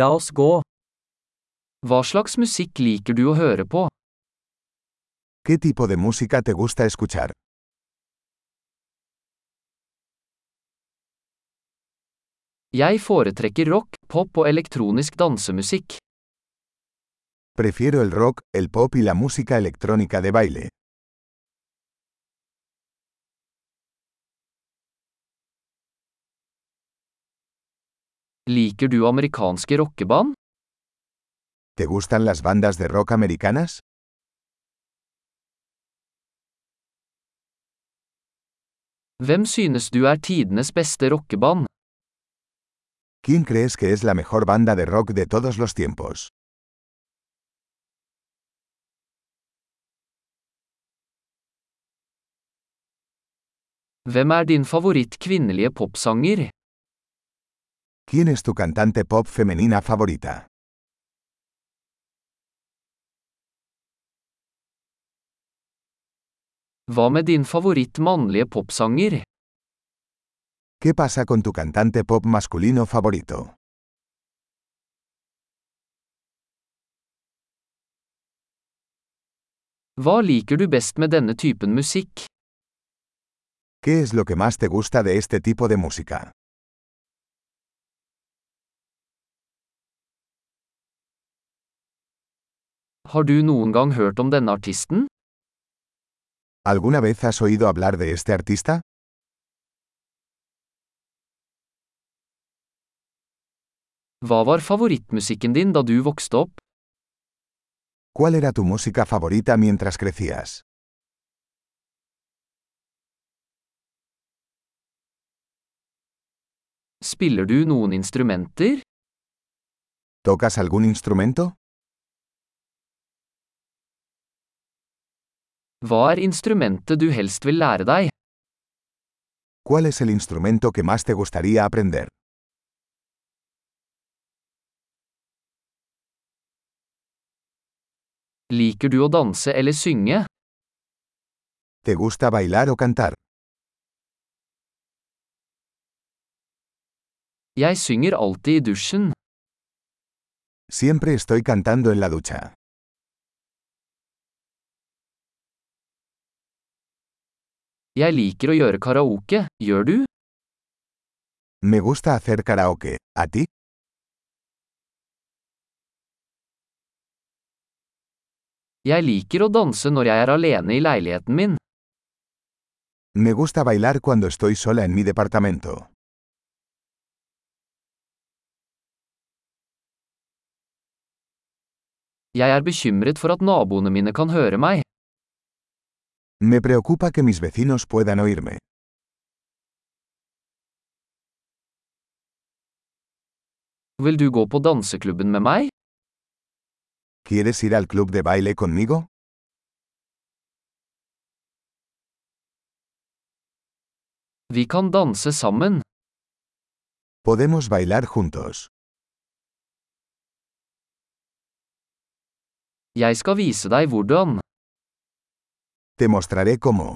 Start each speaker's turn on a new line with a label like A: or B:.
A: La oss gå. Hva slags musikk liker du å høre på?
B: ¿Qué tipo de música te gusta escuchar?
A: Jeg foretrekker rock, pop og elektronisk dansemusikk.
B: Prefiero el rock, el pop y la música electrónica de baile.
A: Liker du amerikanske rockeband?
B: ¿Te gustan las bandas de rock americanas?
A: Hvem synes du er tidenes beste rockeband?
B: ¿Quién crees que es la mejor banda de rock de todos los tiempos?
A: Hvem er din favoritt kvinnelige popsanger?
B: ¿Quién es tu cantante pop femenina favorita?
A: Hva med din favoritt mannlige popsanger?
B: ¿Qué pasa con tu cantante pop masculino favorito?
A: Hva liker du best med denne typen musikk?
B: ¿Qué es lo que más te gusta de este tipo de música?
A: Har du noen gang hørt om denne artisten?
B: ¿Alguna vez has oído hablar de este artista?
A: Hva var favorittmusikken din da du vokste opp?
B: ¿Cuál era tu música favorita mientras crecías?
A: Spiller du noen instrumenter?
B: ¿Tocas algún instrumento?
A: Hva er instrumentet du helst vil lære deg?
B: ¿Cuál es el instrumento que más te gustaría aprender?
A: Liker du å danse eller synge?
B: ¿Te gusta bailar o cantar?
A: Jeg synger alltid i dusjen.
B: Siempre estoy cantando en la ducha.
A: Jeg liker å gjøre karaoke, gjør du?
B: Me gusta hacer karaoke. ¿A ti?
A: Jeg liker å danse når jeg er alene i leiligheten min.
B: Me gusta bailar cuando estoy sola en mi departamento.
A: Jeg er bekymret for at naboene mine kan høre meg.
B: Me preocupa que mis vecinos puedan oírme.
A: Vil du gå på danseklubben med meg?
B: ¿Quieres ir al club de baile conmigo?
A: Vi kan danse sammen.
B: Podemos bailar juntos.
A: Jeg skal vise deg hvordan.
B: Te mostraré cómo.